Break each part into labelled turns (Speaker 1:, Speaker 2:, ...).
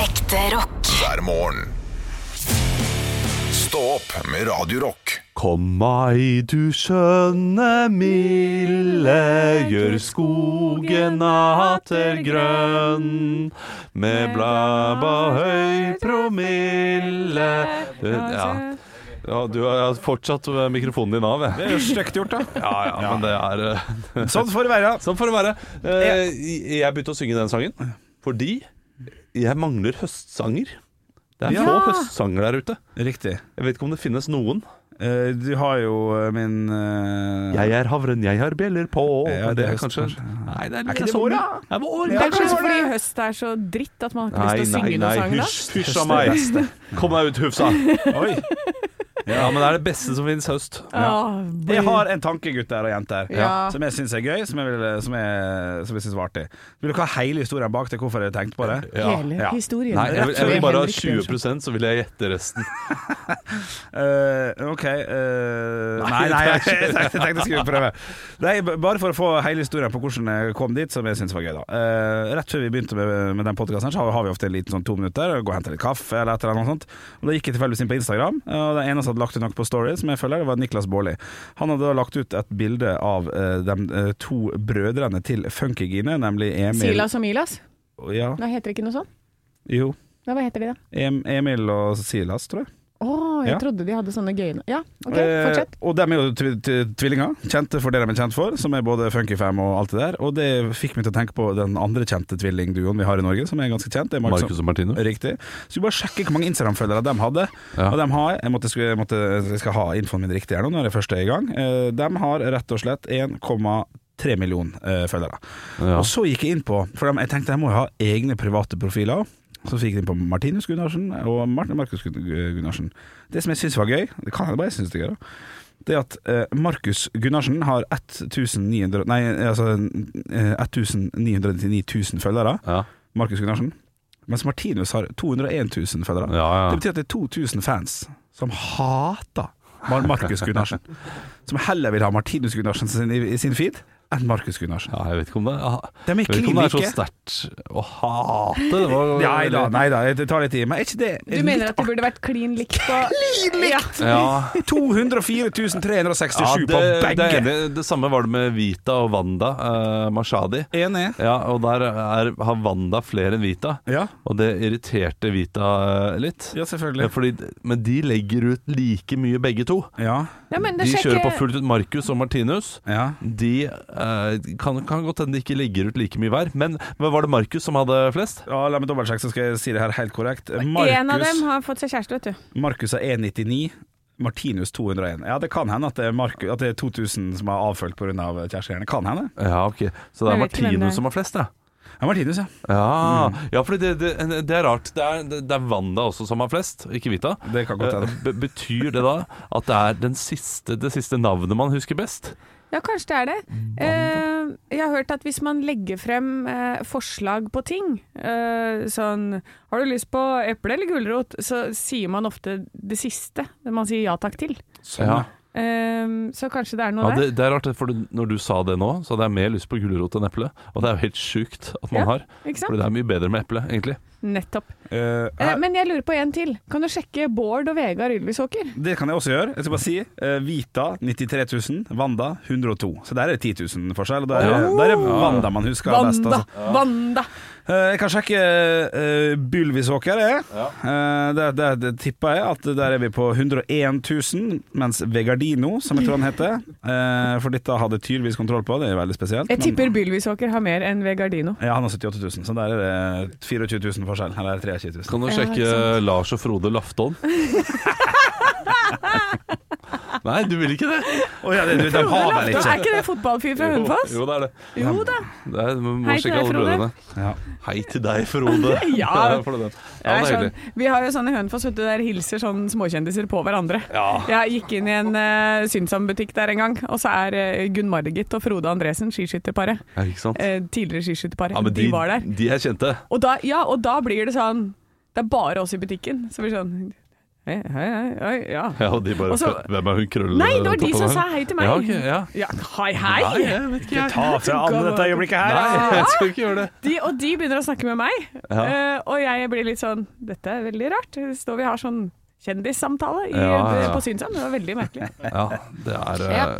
Speaker 1: Ekte rock.
Speaker 2: hver morgen. Stå opp med Radio Rock.
Speaker 3: Kom mai, du skjønne milde, gjør skogen atter grønn. Med blad og høy promille ja.
Speaker 4: altså,
Speaker 3: ja, du har fortsatt mikrofonen din av, jeg.
Speaker 5: Det er jo stygt gjort, da.
Speaker 3: Ja, ja, men det er eh,
Speaker 5: Sånn får det være.
Speaker 3: Sånn får det være. Eh, Jeg begynte å synge den sangen fordi jeg mangler høstsanger. Det er
Speaker 5: Ja.
Speaker 3: få høstsanger der ute.
Speaker 5: Riktig.
Speaker 3: Jeg vet ikke om det finnes noen.
Speaker 5: Eh, Du har jo eh, min eh,
Speaker 3: Jeg er havren, jeg har bjeller på.
Speaker 5: Ja,
Speaker 3: Men
Speaker 5: det
Speaker 3: det
Speaker 5: er
Speaker 3: er kanskje
Speaker 5: høsten,
Speaker 3: Nei, det er,
Speaker 5: ikke det
Speaker 3: sommer.
Speaker 5: vår, da?
Speaker 3: Det er vår,
Speaker 5: Ja,
Speaker 3: det
Speaker 4: Det
Speaker 3: er
Speaker 4: er
Speaker 3: kanskje-
Speaker 4: kanskje fordi høst er så dritt at man har
Speaker 3: Nei,
Speaker 4: ikke lyst til å
Speaker 3: nei, nei,
Speaker 4: synge noen sang da.
Speaker 3: hysj, hysj av meg. Kom deg ut, Hufsa.
Speaker 5: Oi.
Speaker 3: Ja, men det er det beste som finnes høst.
Speaker 4: Åh,
Speaker 5: Jeg har en tanke, gutter og jenter,
Speaker 4: Ja.
Speaker 5: som jeg syns er gøy, som jeg, vil, eh, som jeg, som jeg synes var artig. Vil dere ha hele historien bak til hvorfor jeg tenkte på det?
Speaker 4: Hele
Speaker 5: Ja.
Speaker 4: historien.
Speaker 3: Nei, jeg vil, jeg vil bare ha
Speaker 4: Henrik
Speaker 3: 20
Speaker 4: Bjørnson.
Speaker 3: så vil jeg gjette resten.
Speaker 5: Eh, OK eh, Nei, nei, jeg tenkte, jeg tenkte jeg skulle prøve. Nei, b- bare for å få hele historien på hvordan jeg kom dit, som jeg syns var gøy, da. Eh, rett før vi begynte med, med den podkasten, har, har vi ofte en liten sånn to minutter, gå og hente litt kaffe eller et eller annet sånt. Og Da gikk jeg tilfeldigvis inn på Instagram, eh, og den eneste som hadde lagt ut noe på Story, som jeg følger, det var Niklas Baarli. Han hadde da lagt ut et bilde av eh, de eh, to brødrene til Funkygine, nemlig Emil
Speaker 4: Silas og Milas?
Speaker 5: Ja,
Speaker 4: Nei, heter det ikke noe sånt?
Speaker 5: jo.
Speaker 4: Nei, hva heter de da?
Speaker 5: Em, Emil og Silas, tror jeg.
Speaker 4: Å, jeg
Speaker 5: Ja.
Speaker 4: trodde de hadde sånne gøye navn. Ja, OK,
Speaker 5: Eh,
Speaker 4: fortsett.
Speaker 5: og de er jo tv tv- tvillinger, kjente for det de er kjent for, som er både Funkyfam og alt det der. Og det fikk meg til å tenke på den andre kjente tvillingduoen vi har i Norge, som er ganske kjent. Det er Marcus
Speaker 3: Marcus og Martino.
Speaker 5: Riktig. Skulle bare sjekke hvor mange Instagram-følgere de hadde.
Speaker 3: Ja.
Speaker 5: Og de har, jeg, måtte, skulle- jeg, måtte, jeg skal ha infoen min riktig her nå, når jeg først er i gang. Eh, De har rett og slett 1,3 millioner eh, følgere.
Speaker 3: Ja.
Speaker 5: Og så gikk jeg inn på For de, jeg tenkte jeg må jo ha egne private profiler også. Så fikk jeg inn på Martinus Gunnarsen og Martin Markus Gun- Gunnarsen Det som jeg synes var gøy Det kan jeg bare synes det er gøy da Det er at eh, Markus Gunnarsen har 1900 Nei, altså eh, 1999 000 følgere
Speaker 3: Ja.
Speaker 5: Markus Gunnarsen Mens Martinus har 201 000 følgere
Speaker 3: Ja, ja.
Speaker 5: Det betyr at det er 2000 fans Som hater Mar- Markus Gunnarsen Som heller vil ha Martinus Gunnarsen sin, i, i sin feed Enn Markus Gunnarsen
Speaker 3: ja, jeg vet ikke om det
Speaker 5: De er
Speaker 3: Jeg vet ikke om det er så
Speaker 5: klin like.
Speaker 3: sterkt å hate. Det var,
Speaker 5: Nei da, nei da, det tar litt tid. Men er ikke det
Speaker 4: Du mener at det burde vært klin likt på Klin likt!
Speaker 3: Ja.
Speaker 5: 204 367
Speaker 3: Ja,
Speaker 5: på
Speaker 3: det, det,
Speaker 5: begge?
Speaker 3: ene, det samme var det med Vita og Wanda eh, Mashadi.
Speaker 5: Enig.
Speaker 3: Ja, og der er, har Wanda flere enn Vita,
Speaker 5: Ja.
Speaker 3: og det irriterte Vita eh, litt.
Speaker 5: ja,
Speaker 3: Ja,
Speaker 5: selvfølgelig.
Speaker 3: fordi, men de legger ut like mye begge to.
Speaker 5: Ja.
Speaker 4: Ja, men
Speaker 3: De
Speaker 4: det
Speaker 3: kjører på
Speaker 4: sjekker-
Speaker 3: fullt ut Markus og Martinus.
Speaker 5: ja.
Speaker 3: De eh, kan, kan godt hende de ikke legger ut like mye hver, men, men var det Markus som hadde flest?
Speaker 5: ja La meg dobbeltsjekke, så skal jeg si det her helt korrekt.
Speaker 4: En av dem
Speaker 5: Markus-
Speaker 4: har fått seg kjæreste, vet du.
Speaker 5: Markus har 199. Martinus 201. Ja, det kan hende at det er, Marku- at det er 2000 som er avfølt pga. Av kjærestegjerne. Kan hende.
Speaker 3: Ja, ok. Så det er
Speaker 4: Jeg vet ikke hvem det er.
Speaker 3: Martinus som har flest, Mm. ja.
Speaker 5: Ja, Martinus, ja.
Speaker 3: Ja, ja for det, det, det er rart. Det er, det er Wanda også som har flest, ikke Vita.
Speaker 5: Det kan godt hende.
Speaker 3: Eh, be- Betyr det da at det er den siste, det siste navnet man husker best?
Speaker 4: Ja, kanskje det er det. Eh, jeg har hørt at hvis man legger frem eh, forslag på ting, eh, sånn Har du lyst på eple eller gulrot? Så sier man ofte det siste. Det man sier ja takk til.
Speaker 5: Sånn,
Speaker 3: ja.
Speaker 5: ja.
Speaker 4: Eh, så kanskje det er noe
Speaker 3: Ja,
Speaker 4: der.
Speaker 3: det, det er rart, for når du sa det nå, så hadde jeg mer lyst på gulrot enn eple. Og det er jo helt sjukt at man
Speaker 4: Ja,
Speaker 3: har,
Speaker 4: Ikke
Speaker 3: for
Speaker 4: sant?
Speaker 3: det er mye bedre med eple, egentlig.
Speaker 4: Nettopp.
Speaker 5: Eh,
Speaker 4: Eh,
Speaker 5: her-
Speaker 4: men jeg lurer på en til. Kan du sjekke Bård og Vegard Ylvisåker?
Speaker 5: Det kan jeg også gjøre. Jeg skal bare si eh, Vita 93 000, Wanda 102 Så der er det 10 000 forskjell. Og der, er- der er Wanda man husker best.
Speaker 4: Oh! Wanda!
Speaker 5: Altså.
Speaker 4: Wanda!
Speaker 5: Eh, Jeg kan sjekke uh, Bylvisåker. jeg. Eh, der, der, der tipper jeg at der er vi på 101 000, mens Vegardino, som jeg tror han heter eh, For dette hadde jeg tydeligvis kontroll på, det er veldig spesielt.
Speaker 4: Jeg
Speaker 5: men-
Speaker 4: tipper Bylvisåker har mer enn Vegardino.
Speaker 5: ja, Han har 78 000, så der er det 24 000 forskjell. Eller 23 000.
Speaker 3: Kan du
Speaker 4: Ja,
Speaker 3: sjekke
Speaker 4: ikke
Speaker 3: Lars og Frode Lafton? Nei, du vil ikke det?
Speaker 5: Å ja, det, du, de har vel
Speaker 4: Er
Speaker 5: ikke
Speaker 4: ikke det fotballfyr fra Hønefoss?
Speaker 3: Jo, jo, det er det.
Speaker 4: Jo da.
Speaker 3: det er, man må
Speaker 4: Hei
Speaker 3: Hei
Speaker 4: til
Speaker 3: sjekke
Speaker 4: deg,
Speaker 3: alle
Speaker 4: Frode.
Speaker 3: brødrene.
Speaker 5: ja.
Speaker 3: Hei til deg, Frode.
Speaker 4: Ja.
Speaker 3: for det.
Speaker 4: Det
Speaker 3: ja det
Speaker 4: er
Speaker 3: er
Speaker 4: sånn,
Speaker 3: hyggelig.
Speaker 4: vi har jo sånne i Hønefoss vet du, der hilser sånn småkjendiser på hverandre. Jeg gikk inn i en uh, Synsam-butikk der en gang, og så er eh, Gunn-Margit og Frode Andresen skiskytterparet.
Speaker 3: Ja, ikke sant?
Speaker 4: Eh, tidligere skiskytterparet.
Speaker 3: Ja, men
Speaker 4: de, var der.
Speaker 3: De er kjente.
Speaker 4: Og da, ja, og da blir det sånn Det er bare oss i butikken. Så blir det sånn Hei, hei, hei, hei, ja.
Speaker 3: Ja, og de bare
Speaker 4: Og så-
Speaker 3: Hvem er hun krøllene
Speaker 4: Nei, det var de som sa hei til meg.
Speaker 3: Ja, ok, ja.
Speaker 4: Ja, hei, hei!
Speaker 3: Nei, jeg vet ikke.
Speaker 5: Ta fra alle dette øyeblikket her.
Speaker 3: Nei, jeg skal ikke gjøre det.
Speaker 4: De, og de begynner å snakke med meg,
Speaker 3: Ja.
Speaker 4: eh, og jeg blir litt sånn Dette er veldig rart. Det står vi har sånn kjendissamtale i, eh,
Speaker 3: Ja, ja, ja.
Speaker 4: på Synsam. Det var veldig merkelig.
Speaker 3: Ja, det er, eh,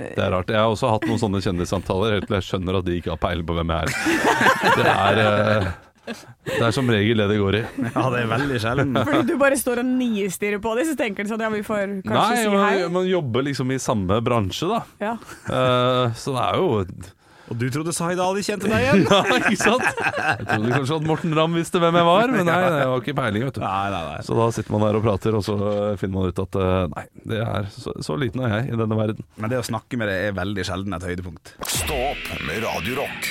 Speaker 3: det er rart. Jeg har også hatt noen sånne kjendissamtaler helt til jeg skjønner at de ikke har peiling på hvem jeg er. Det er, eh, det er som regel det det går i.
Speaker 5: Ja, det er veldig sjelden.
Speaker 4: Fordi du bare står og nistirrer på dem, så tenker de sånn Ja, vi får kanskje
Speaker 3: Nei,
Speaker 4: si hei.
Speaker 3: man, man jobber liksom i samme bransje, da.
Speaker 4: Ja.
Speaker 3: Eh, så det er jo
Speaker 5: Og du trodde Sahid Ali kjente deg igjen?
Speaker 3: Ja, ikke sant? Jeg trodde kanskje at Morten Ramm visste hvem jeg var, men nei, jeg har ikke peiling, vet du.
Speaker 5: Nei, nei, nei.
Speaker 3: Så da sitter man der og prater, og så eh, finner man ut at eh, nei, det er så, så liten er jeg i denne verden.
Speaker 5: Men det å snakke med deg er veldig sjelden et høydepunkt.
Speaker 2: Stå opp med Radio Rock.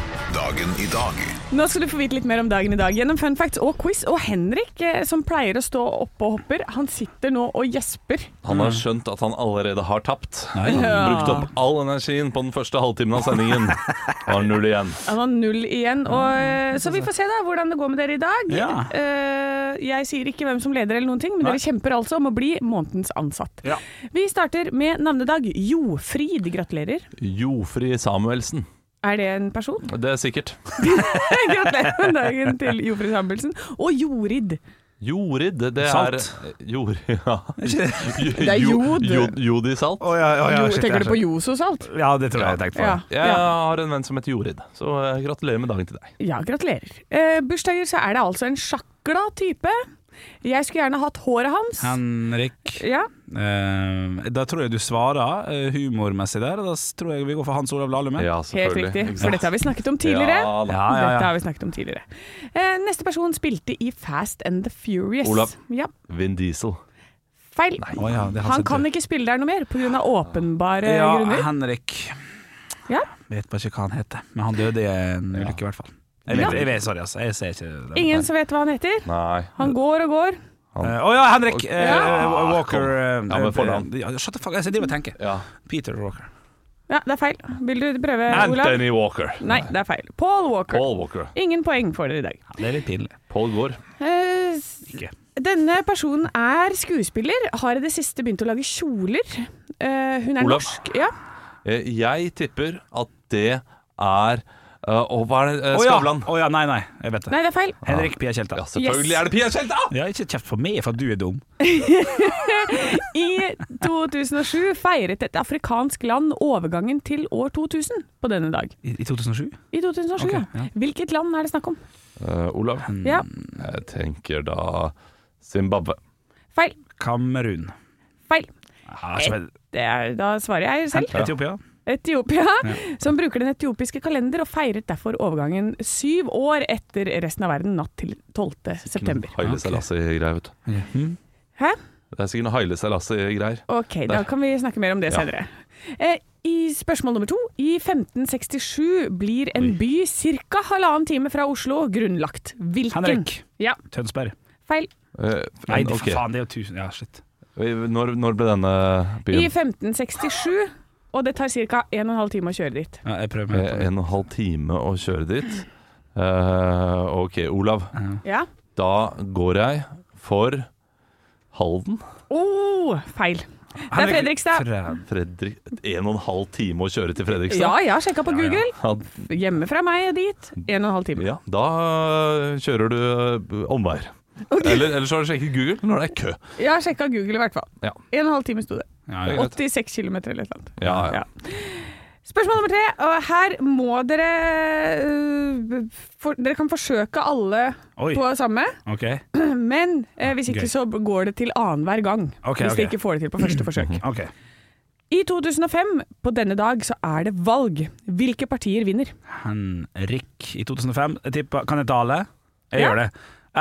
Speaker 2: Dagen i dag
Speaker 4: Nå skal du få vite litt mer om dagen i dag gjennom fun facts og quiz. Og Henrik, eh, som pleier å stå oppe og hopper, han sitter nå og gjesper.
Speaker 3: Han har skjønt at han allerede har tapt.
Speaker 4: Ja.
Speaker 3: Brukt opp all energien på den første halvtimen av sendingen. Og har null igjen.
Speaker 4: Han har null igjen. Og,
Speaker 3: Mm,
Speaker 4: eh, så vi får se da hvordan det går med dere i dag.
Speaker 5: Ja.
Speaker 4: Eh, jeg sier ikke hvem som leder, eller noen ting, men dere kjemper altså om å bli månedens ansatt.
Speaker 5: Ja.
Speaker 4: Vi starter med navnedag. Jofrid, gratulerer.
Speaker 3: Jofri Samuelsen.
Speaker 4: Er det en person?
Speaker 3: Det er sikkert.
Speaker 4: gratulerer med dagen til Jofrid Samuelsen. Og Jorid.
Speaker 3: Jorid, det er
Speaker 5: Salt.
Speaker 3: Jord, ja. Det
Speaker 4: er jod.
Speaker 3: Jodi Salt.
Speaker 5: Å, ja, ja, ja,
Speaker 4: Jo,
Speaker 5: shit,
Speaker 4: tenker
Speaker 5: jeg
Speaker 4: du på Jososalt?
Speaker 5: skjønner. Ja, det tror jeg jeg tenkte på.
Speaker 4: Ja.
Speaker 3: Jeg har en venn som heter Jorid, så eh, gratulerer med dagen til deg.
Speaker 4: Ja, gratulerer. Eh, bursdager så er det altså en sjakla type. Jeg skulle gjerne hatt håret hans.
Speaker 5: Henrik,
Speaker 4: Ja,
Speaker 5: eh, da tror jeg du svarer eh, humormessig der. Da s- tror jeg vi går for Hans Olav Lahlum. jeg.
Speaker 3: Ja,
Speaker 4: helt
Speaker 3: selvfølgelig.
Speaker 4: riktig.
Speaker 3: Ikke
Speaker 4: For
Speaker 3: sant?
Speaker 4: dette har vi snakket om tidligere.
Speaker 3: Ja, da.
Speaker 5: Ja, ja, ja.
Speaker 4: Dette har vi snakket om tidligere. Eh, neste person spilte i Fast and the Furious.
Speaker 3: Olav.
Speaker 4: Ja,
Speaker 3: Vin Diesel.
Speaker 4: feil.
Speaker 5: Å, ja, det har
Speaker 4: Han
Speaker 5: sett
Speaker 4: kan
Speaker 5: det.
Speaker 4: ikke spille der noe mer pga. åpenbare
Speaker 5: Ja,
Speaker 4: grunner.
Speaker 5: Henrik.
Speaker 4: eh, Ja.
Speaker 5: Vet bare ikke hva han heter, men han døde i en ulykke i hvert fall. Jeg vet,
Speaker 4: Ja.
Speaker 5: jeg vet, sorry, altså. Jeg ser ikke det.
Speaker 4: Ingen som vet hva han heter.
Speaker 3: Nei.
Speaker 4: Han går og går.
Speaker 5: Å ja, Henrik! eh,
Speaker 3: Ja.
Speaker 5: Walker eh,
Speaker 3: Ja, men fornavn.
Speaker 5: eh, ja, Shut the fuck, jeg driver og tenker.
Speaker 3: Ja.
Speaker 5: Peter Walker.
Speaker 4: Ja, det er feil. Vil du prøve, Olav?
Speaker 3: Anthony Walker.
Speaker 4: Nei, det er feil. Paul Walker.
Speaker 3: Paul Walker.
Speaker 4: Ingen poeng får dere i dag.
Speaker 5: Ja, det er litt pinlig.
Speaker 3: Paul Gaard.
Speaker 4: Eh, s-
Speaker 5: Ikke.
Speaker 4: Denne personen er skuespiller, har i det siste begynt å lage kjoler. Eh, hun er
Speaker 3: Olav.
Speaker 4: norsk. Ja.
Speaker 3: Eh, Jeg tipper at det er eh, Å, hva er det? Eh,
Speaker 5: Å ja.
Speaker 3: Skavlan.
Speaker 5: Å ja, nei, nei. Jeg vet det.
Speaker 4: Nei, det er feil.
Speaker 5: Henrik Pia Tjelta.
Speaker 3: Ja, selvfølgelig er det Pia Tjelta!
Speaker 5: Ja, ikke kjeft for meg for at du er dum.
Speaker 4: I 2007 feiret et afrikansk land overgangen til år 2000 på denne dag.
Speaker 5: I, i 2007?
Speaker 4: I 2007,
Speaker 5: Ok,
Speaker 4: ja.
Speaker 5: ja.
Speaker 4: Hvilket land er det snakk om?
Speaker 3: Eh, Olav.
Speaker 4: Ja,
Speaker 3: Jeg tenker da Zimbabwe.
Speaker 4: feil.
Speaker 5: Kamerun.
Speaker 4: Feil.
Speaker 5: Ja, så vel-
Speaker 4: Det er, da svarer jeg selv.
Speaker 5: Etiopia.
Speaker 4: Etiopia, som bruker den etiopiske kalender, og feiret derfor overgangen syv år etter resten av verden natt til 12. september.
Speaker 3: Mm, Haile Selassie-greier, vet du.
Speaker 5: Mhm.
Speaker 4: Hæ?
Speaker 3: Det er sikkert noe Haile Selassie-greier.
Speaker 4: Ok, da
Speaker 3: Der.
Speaker 4: kan vi snakke mer om det
Speaker 3: Ja.
Speaker 4: senere. Eh, I spørsmål nummer to. I 1567 blir en by ca. halvannen time fra Oslo grunnlagt. Hvilken?
Speaker 5: Henrik.
Speaker 4: Ja,
Speaker 5: Tønsberg.
Speaker 4: feil.
Speaker 3: Eh,
Speaker 5: Nei,
Speaker 3: men,
Speaker 5: det-
Speaker 3: ok.
Speaker 5: for faen, det er jo tusen Ja, shit.
Speaker 3: Når, når ble denne
Speaker 4: I
Speaker 3: byen?
Speaker 4: 1567, og det tar ca. 1 12 time å kjøre dit.
Speaker 5: Ja, jeg prøver
Speaker 3: Eh,
Speaker 5: meg på det.
Speaker 3: En og en halv time å kjøre dit. Eh, ok, Olav.
Speaker 4: Ja.
Speaker 3: Da går jeg for Halden.
Speaker 4: Oh, feil. Det er
Speaker 5: Henrik
Speaker 4: Fredrikstad.
Speaker 5: Fred-
Speaker 3: Fredrik, en og en halv time å kjøre til
Speaker 4: Ja,
Speaker 3: Fredrikstad?
Speaker 4: jeg har sjekka på
Speaker 5: Ja, ja.
Speaker 4: Google.
Speaker 3: Ja,
Speaker 4: Hjemme fra meg og dit, 1 12 time.
Speaker 3: ja, da kjører du eh, omveier. Eller, eller så har du sjekket Google når det er kø.
Speaker 4: Jeg har sjekka Google i hvert fall.
Speaker 3: Ja.
Speaker 4: 1 12 time sto det.
Speaker 5: Ja, ja.
Speaker 4: 86 km eller et eller annet.
Speaker 3: Ja, ja.
Speaker 4: Ja. Spørsmål nummer tre, og her må dere øh, for, Dere kan forsøke alle
Speaker 5: Oi.
Speaker 4: på samme,
Speaker 5: OK.
Speaker 4: men eh, hvis ikke
Speaker 5: Gøy.
Speaker 4: så går det til annenhver gang.
Speaker 5: Ok,
Speaker 4: hvis de
Speaker 5: ok.
Speaker 4: ikke får det til på første forsøk.
Speaker 5: ok
Speaker 4: I 2005, på denne dag, så er det valg. Hvilke partier vinner?
Speaker 5: Henrik i 2005. Jeg tipper Kan jeg tale? Jeg
Speaker 4: Ja.
Speaker 5: gjør det.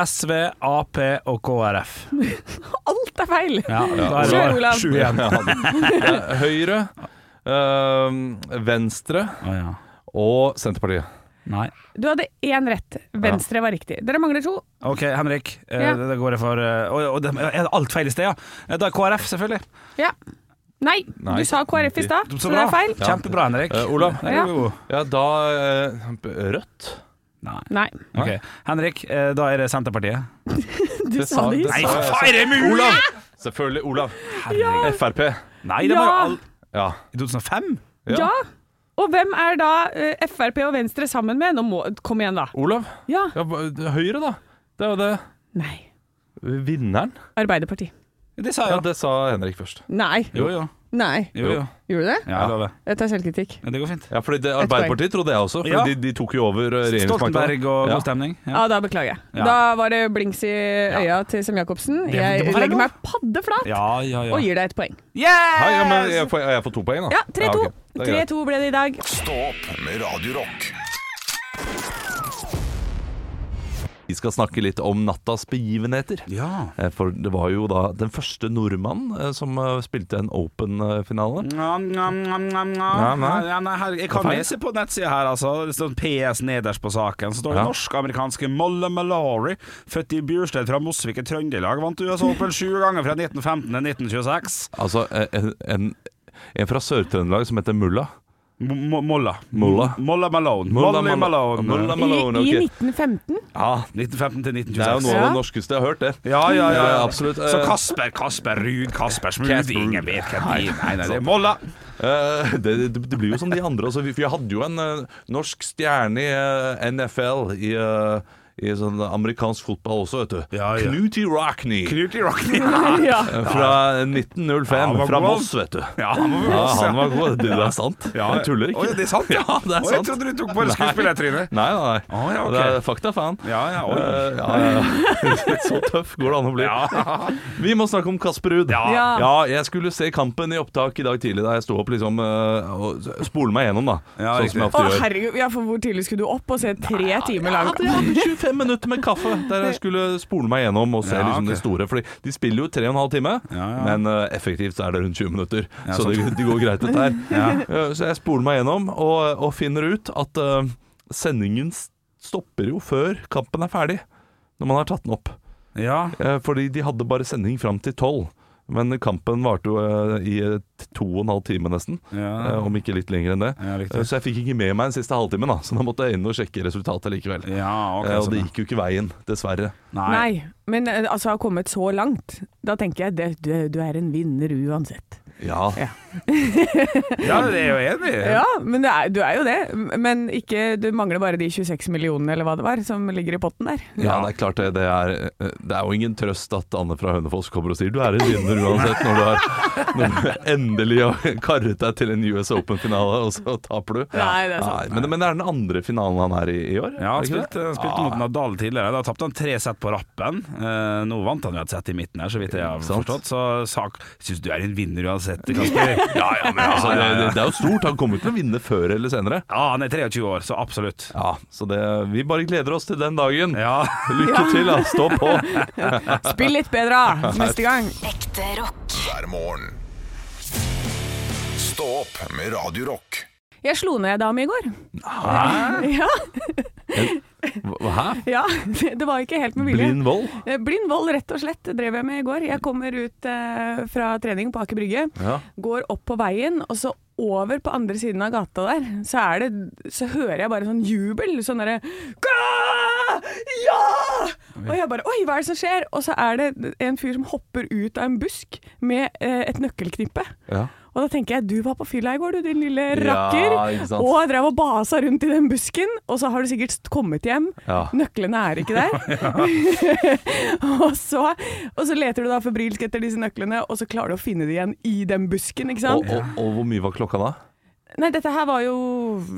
Speaker 5: SV, Ap og KrF.
Speaker 4: Alt er feil!
Speaker 5: Ja, da er
Speaker 4: Kjør,
Speaker 5: det bare
Speaker 4: Olav.
Speaker 5: Sju igjen.
Speaker 3: Eh, Høyre, eh, Venstre
Speaker 5: Å, ja.
Speaker 3: og Senterpartiet.
Speaker 5: Nei.
Speaker 4: Du hadde én rett. Venstre var riktig. Dere mangler to.
Speaker 5: OK, Henrik. Eh,
Speaker 4: Ja.
Speaker 5: Da går jeg for eh, Å, å, det- er det alt feil i sted, ja? Eh, Da er KrF, selvfølgelig.
Speaker 4: Ja. Nei,
Speaker 3: Nei.
Speaker 4: du sa KrF i stad, så,
Speaker 5: Så
Speaker 4: det
Speaker 5: bra.
Speaker 4: er feil.
Speaker 5: Kjempebra, Henrik.
Speaker 3: Eh, Olav?
Speaker 5: Der er du god.
Speaker 3: Ja, da eh, Rødt?
Speaker 5: Nei.
Speaker 4: Nei,
Speaker 5: Ok. Henrik, eh, da er det Senterpartiet.
Speaker 4: du sa det i
Speaker 3: Nei,
Speaker 4: stad.
Speaker 3: for faen, er det mulig?! Olav! Selvfølgelig. Olav. Frp.
Speaker 5: Nei, det var jo
Speaker 4: Ja.
Speaker 5: all...
Speaker 3: Ja.
Speaker 5: I 2005?
Speaker 3: Ja.
Speaker 4: Ja. Og hvem er da eh, Frp og Venstre sammen med? Nå må, kom igjen, da.
Speaker 3: Olav?
Speaker 4: Ja.
Speaker 3: Ja, hva- Høyre, da. Det er jo det.
Speaker 4: Nei.
Speaker 3: Vinneren?
Speaker 4: Arbeiderpartiet.
Speaker 5: Det sa
Speaker 3: Ja,
Speaker 5: jeg jo.
Speaker 3: det sa Henrik først.
Speaker 4: Nei.
Speaker 5: Jo, jo.
Speaker 4: Nei.
Speaker 5: jo, jo.
Speaker 4: Gjorde du det?
Speaker 5: Ja, jeg lover.
Speaker 4: Jeg tar selvkritikk.
Speaker 5: Ja, det går fint.
Speaker 3: Ja, fordi det, Arbeiderpartiet trodde jeg også, for
Speaker 5: Ja.
Speaker 3: de, de tok jo over eh, regjeringsmakten.
Speaker 5: Stoltenberg
Speaker 3: Ja.
Speaker 5: og god stemning.
Speaker 4: Ja,
Speaker 5: Ja.
Speaker 4: da beklager jeg.
Speaker 5: Ja.
Speaker 4: Da var det blinks i øya til Sem-Jacobsen.
Speaker 5: Det-
Speaker 4: Jeg
Speaker 5: det var
Speaker 4: legger
Speaker 5: lov.
Speaker 4: meg paddeflat
Speaker 5: Ja, ja, ja.
Speaker 4: og gir deg et poeng.
Speaker 3: Hei, ja,
Speaker 5: Eh,
Speaker 3: men jeg får, jeg får to poeng, da.
Speaker 4: Ja, 3-2.
Speaker 3: ok. Det er greit.
Speaker 4: 3-2 ble det i dag.
Speaker 2: Stå opp med Radio Rock.
Speaker 3: Vi skal snakke litt om nattas begivenheter.
Speaker 5: ja.
Speaker 3: Eh, For det var jo da den første nordmannen eh, som eh, spilte en eh, Open-finale.
Speaker 5: Nam, nam, nam, nam, nam.
Speaker 3: Nam, nam.
Speaker 5: Ja, nei, her, jeg kan
Speaker 3: Hva faen?
Speaker 5: lese på nettsida her, altså. Det står PS nederst på saken. Så står det
Speaker 3: Ja.
Speaker 5: norsk-amerikanske Molle Mallory, født i Bjurstein fra Mosvik i Trøndelag, vant USA Open sju ganger fra 1915 til 1926.
Speaker 3: Altså eh, en, en, en fra Sør-Trøndelag som heter Mulla.
Speaker 5: M- Mo- Molla.
Speaker 3: Molla.
Speaker 5: Molla Malone.
Speaker 3: Molla
Speaker 5: Molly
Speaker 3: Malo-
Speaker 5: Malone.
Speaker 3: Molla
Speaker 4: I,
Speaker 3: Malone,
Speaker 4: I
Speaker 3: ok.
Speaker 4: 1915.
Speaker 3: Ja,
Speaker 5: 1915 til
Speaker 3: det er jo
Speaker 5: 1926.
Speaker 3: noe av
Speaker 4: Ja.
Speaker 3: det norskeste jeg har hørt, det.
Speaker 5: Ja, ja, ja,
Speaker 3: Ja,
Speaker 5: ja.
Speaker 3: absolutt.
Speaker 5: Så
Speaker 3: Eh,
Speaker 5: Kasper, Kasper Ruud, Kasper Smooth
Speaker 3: Kasper.
Speaker 5: Ingen vet hvem de er. Nei, nei, det er Molla.
Speaker 3: Eh, det, det, det blir jo som de andre. Altså, vi, for jeg hadde jo en eh, norsk stjerne i eh, NFL i, eh, i sånn amerikansk fotball også, vet du.
Speaker 5: Ja, ja.
Speaker 3: Knutty Rockney
Speaker 5: Knut i Rockney.
Speaker 4: Ja.
Speaker 3: eh, fra 1905.
Speaker 5: Ja, han var
Speaker 3: fra
Speaker 5: god.
Speaker 3: Moss, vet du.
Speaker 5: Ja, han var
Speaker 3: Ja,
Speaker 5: også,
Speaker 3: han var god. Det, det er sant.
Speaker 5: Ja.
Speaker 3: Jeg tuller ikke.
Speaker 5: Oi, det er sant, ja.
Speaker 3: ja. det
Speaker 5: Å,
Speaker 3: er
Speaker 5: jeg
Speaker 3: sant.
Speaker 5: trodde du tok bare skuespillertrynet.
Speaker 3: Nei, nei, nei.
Speaker 5: Å, ja, ok.
Speaker 3: Det er fakta, faen.
Speaker 5: Ja, ja, oi.
Speaker 3: Eh, ja, ja, ja. Så tøff går det an å bli.
Speaker 5: Ja.
Speaker 3: Vi må snakke om Kasper Ruud.
Speaker 5: Ja.
Speaker 4: Ja.
Speaker 3: jeg skulle se kampen i opptak i dag tidlig da jeg sto opp liksom eh, og spole meg gjennom, da.
Speaker 5: Ja,
Speaker 3: sånn
Speaker 5: riktig.
Speaker 3: som jeg
Speaker 4: Å
Speaker 3: ofte gjør.
Speaker 4: herregud, ja, for hvor tidlig skulle du opp og se tre timer lang
Speaker 3: Jeg hadde 25 minutter med kaffe der jeg skulle spole meg gjennom og se
Speaker 5: Ja,
Speaker 3: liksom
Speaker 5: ok.
Speaker 3: de store. Fordi de spiller jo 3 15 time,
Speaker 5: Ja, ja.
Speaker 3: men eh, effektivt så er det rundt 20 minutter.
Speaker 5: Ja,
Speaker 3: så det,
Speaker 5: sant.
Speaker 3: det går greit, dette her.
Speaker 5: Ja.
Speaker 3: Eh, så jeg spoler meg gjennom og, og finner ut at eh, sendingen s- stopper jo før kampen er ferdig. Når man har tatt den opp.
Speaker 5: Ja.
Speaker 3: Eh, fordi de hadde bare sending fram til 12. Men kampen varte jo eh, i eh, to og en halv time nesten. eh,
Speaker 5: Ja.
Speaker 3: om ikke litt lenger enn det.
Speaker 5: Ja, riktig.
Speaker 3: Eh, så jeg fikk ikke med meg den siste halvtimen, da. Så da måtte jeg inn og sjekke resultatet likevel.
Speaker 5: ja, ok.
Speaker 3: Eh, og
Speaker 5: sånn,
Speaker 3: det
Speaker 5: ja.
Speaker 3: gikk jo ikke veien, dessverre.
Speaker 5: Nei.
Speaker 4: Nei, men eh, altså har kommet så langt. Da tenker jeg det, du, du er en vinner uansett.
Speaker 3: Ja.
Speaker 4: Ja.
Speaker 5: Ja, det er jo enig.
Speaker 4: Ja, men det er, du er jo det. Men ikke, du mangler bare de 26 millionene eller hva det var som ligger i potten der.
Speaker 3: ja, det er klart det. Det er, eh, det er jo ingen trøst at Anne fra Hønefoss kommer og sier du er en vinner uansett, når du, har, når du endelig har karret deg til en US Open-finale, og så taper du.
Speaker 4: Nei, det er sant.
Speaker 3: men, men det er den andre finalen han er i i år?
Speaker 5: Ja,
Speaker 3: er
Speaker 5: han
Speaker 3: det ikke det? Ah.
Speaker 5: spilte, han spilte mot Nadal tidligere. Da tapte han tre sett på rappen. Eh, nå vant han jo et sett i midten her, så vidt jeg har
Speaker 3: Sant.
Speaker 5: forstått. Så sak Syns du er en vinner uansett, Kasper? Ja, ja, men altså
Speaker 3: Altså, det,
Speaker 5: ja, ja.
Speaker 3: det, det er jo stort. Han kommer til å vinne før eller senere.
Speaker 5: ja, han er 23 år, så absolutt.
Speaker 3: Ja, så det, vi bare gleder oss til den dagen.
Speaker 5: Ja.
Speaker 3: Lykke til, da. Stå på.
Speaker 4: Spill litt bedre da, neste gang.
Speaker 6: Ekte rock.
Speaker 2: hver morgen. Stå opp med Radio Rock.
Speaker 4: Jeg slo ned ei dame i går. Ja,
Speaker 3: Hæ?
Speaker 4: ja, det var ikke helt med vilje.
Speaker 3: Blind vold?
Speaker 4: Eh, Blind vold, rett og slett, drev jeg med i går. Jeg kommer ut eh, fra trening på Aker Brygge,
Speaker 3: Ja.
Speaker 4: går opp på veien, og så over på andre siden av gata der, så, er det, så hører jeg bare sånn jubel. Sånn derre «Ga! Ja! Og jeg bare Oi, hva er det som skjer? Og så er det en fyr som hopper ut av en busk med eh, et nøkkelknippe.
Speaker 3: Ja.
Speaker 4: Og da tenker jeg, du var på fylla i går, du din lille
Speaker 3: Ja,
Speaker 4: rakker.
Speaker 3: ikke sant.
Speaker 4: og drev og basa rundt i den busken. Og så har du sikkert kommet hjem.
Speaker 3: Ja.
Speaker 4: Nøklene er ikke der. og, så, og så leter du da febrilsk etter disse nøklene, og så klarer du å finne det igjen i den busken, ikke
Speaker 3: Og,
Speaker 4: sant.
Speaker 3: og, og hvor mye var klokka da?
Speaker 4: Nei, dette her var jo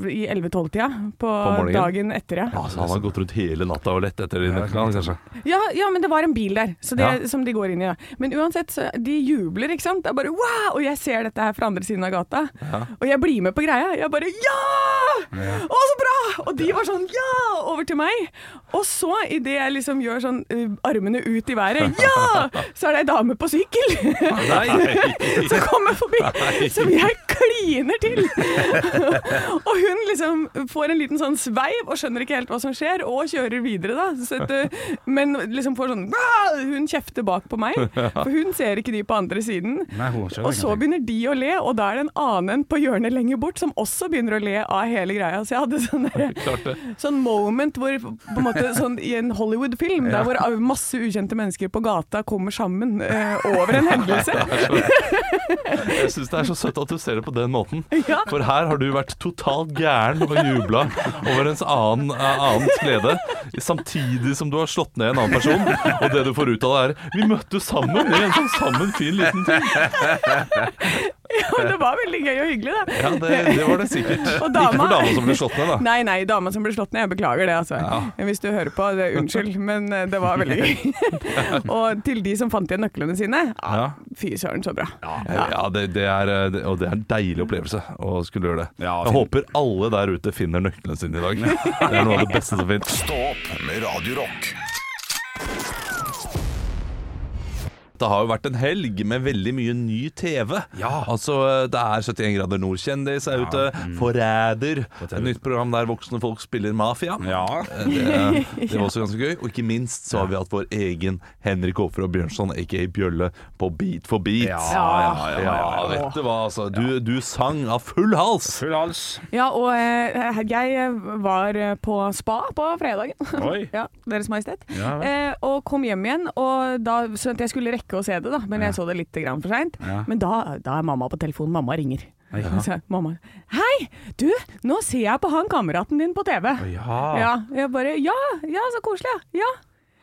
Speaker 4: i 11-12-tida, på,
Speaker 3: morgenen?
Speaker 4: dagen etter, ja.
Speaker 3: Altså, han har gått rundt hele natta og lett etter de nøklene, kanskje.
Speaker 4: ja. Ja, men det var en bil der så det,
Speaker 3: Ja.
Speaker 4: som de går inn i. Da. Men uansett, så de jubler, ikke sant. Det er bare wow! Og jeg ser dette her fra andre siden av gata, og jeg blir med på greia. Jeg bare ja! Å, så bra! Og de var sånn ja! Over til meg. Og så, idet jeg liksom gjør sånn eh, armene ut i været, ja! Så er det ei dame på sykkel som kommer forbi, som jeg kliner til. og hun liksom får en liten sånn sveiv og skjønner ikke helt hva som skjer, og kjører videre, da. Så at, eh, men liksom får sånn «Bah!» Hun kjefter bak på meg, for hun ser ikke de på andre siden.
Speaker 5: Nei, hun skjønner
Speaker 4: Og så
Speaker 5: ingenting.
Speaker 4: begynner de å le, og da er det en annen på hjørnet lenger bort som også begynner å le av hele greia. Så jeg hadde sånn, der, sånn moment hvor, på en måte, sånn, i en Hollywood-film, der hvor av- masse ukjente mennesker på gata kommer sammen eh, over en hendelse.
Speaker 3: Jeg syns det er så søtt at du ser det på den måten.
Speaker 4: Ja.
Speaker 3: For her har du vært totalt gæren og jubla over ens annen, annens glede, samtidig som du har slått ned en annen person. Og det du får ut av det, er Vi møttes sammen i en sånn sammen fin liten ting.
Speaker 4: Og det var veldig gøy og hyggelig, da.
Speaker 3: Ja, det, det var det sikkert.
Speaker 4: Og
Speaker 3: Ikke
Speaker 4: dama-
Speaker 3: for dama som ble slått ned, da.
Speaker 4: Nei, nei, dama som ble slått ned. Jeg beklager det, altså. Hvis du hører på, det, unnskyld, men eh, det var veldig gøy. og til de som fant igjen nøklene sine,
Speaker 3: Ja.
Speaker 4: fy søren, så bra.
Speaker 3: Ja, det, det er, eh, det- og det er en deilig opplevelse å skulle gjøre det.
Speaker 5: Ja,
Speaker 3: Jeg
Speaker 5: fin-
Speaker 3: håper alle der ute finner nøklene sine i dag. Det er noe av det beste som finnes.
Speaker 2: Stå opp med Radio Rock.
Speaker 3: Det har jo vært en helg med veldig mye ny TV.
Speaker 5: Ja.
Speaker 3: Altså, Det er 71 grader nord-kjendis er ute.
Speaker 5: Mm.
Speaker 3: Forræder. Et nytt program der voksne folk spiller mafia.
Speaker 5: Ja.
Speaker 3: Det, det var også ganske gøy. Og ikke minst så har vi hatt vår egen Henrik Håfer og Bjørnson, aka Bjølle, på Beat for beat.
Speaker 5: Ja, ja, ja, ja, ja.
Speaker 3: vet du hva, altså. Du, du sang av full hals.
Speaker 5: Full hals.
Speaker 4: Ja, og eh, jeg var på spa på fredagen.
Speaker 5: Oi.
Speaker 4: ja, Deres Majestet.
Speaker 5: Ja, vel.
Speaker 4: eh, og kom hjem igjen, og da, så at jeg skulle rekke å se det, da, men jeg så det litt grann for seint.
Speaker 5: Ja.
Speaker 4: Men da, da er mamma på telefonen. Mamma ringer. Så, jeg, mamma, Hei, du, nå ser jeg på han kameraten din på TV.
Speaker 5: Ja.
Speaker 4: Ja, jeg bare Ja, ja, så koselig. Ja.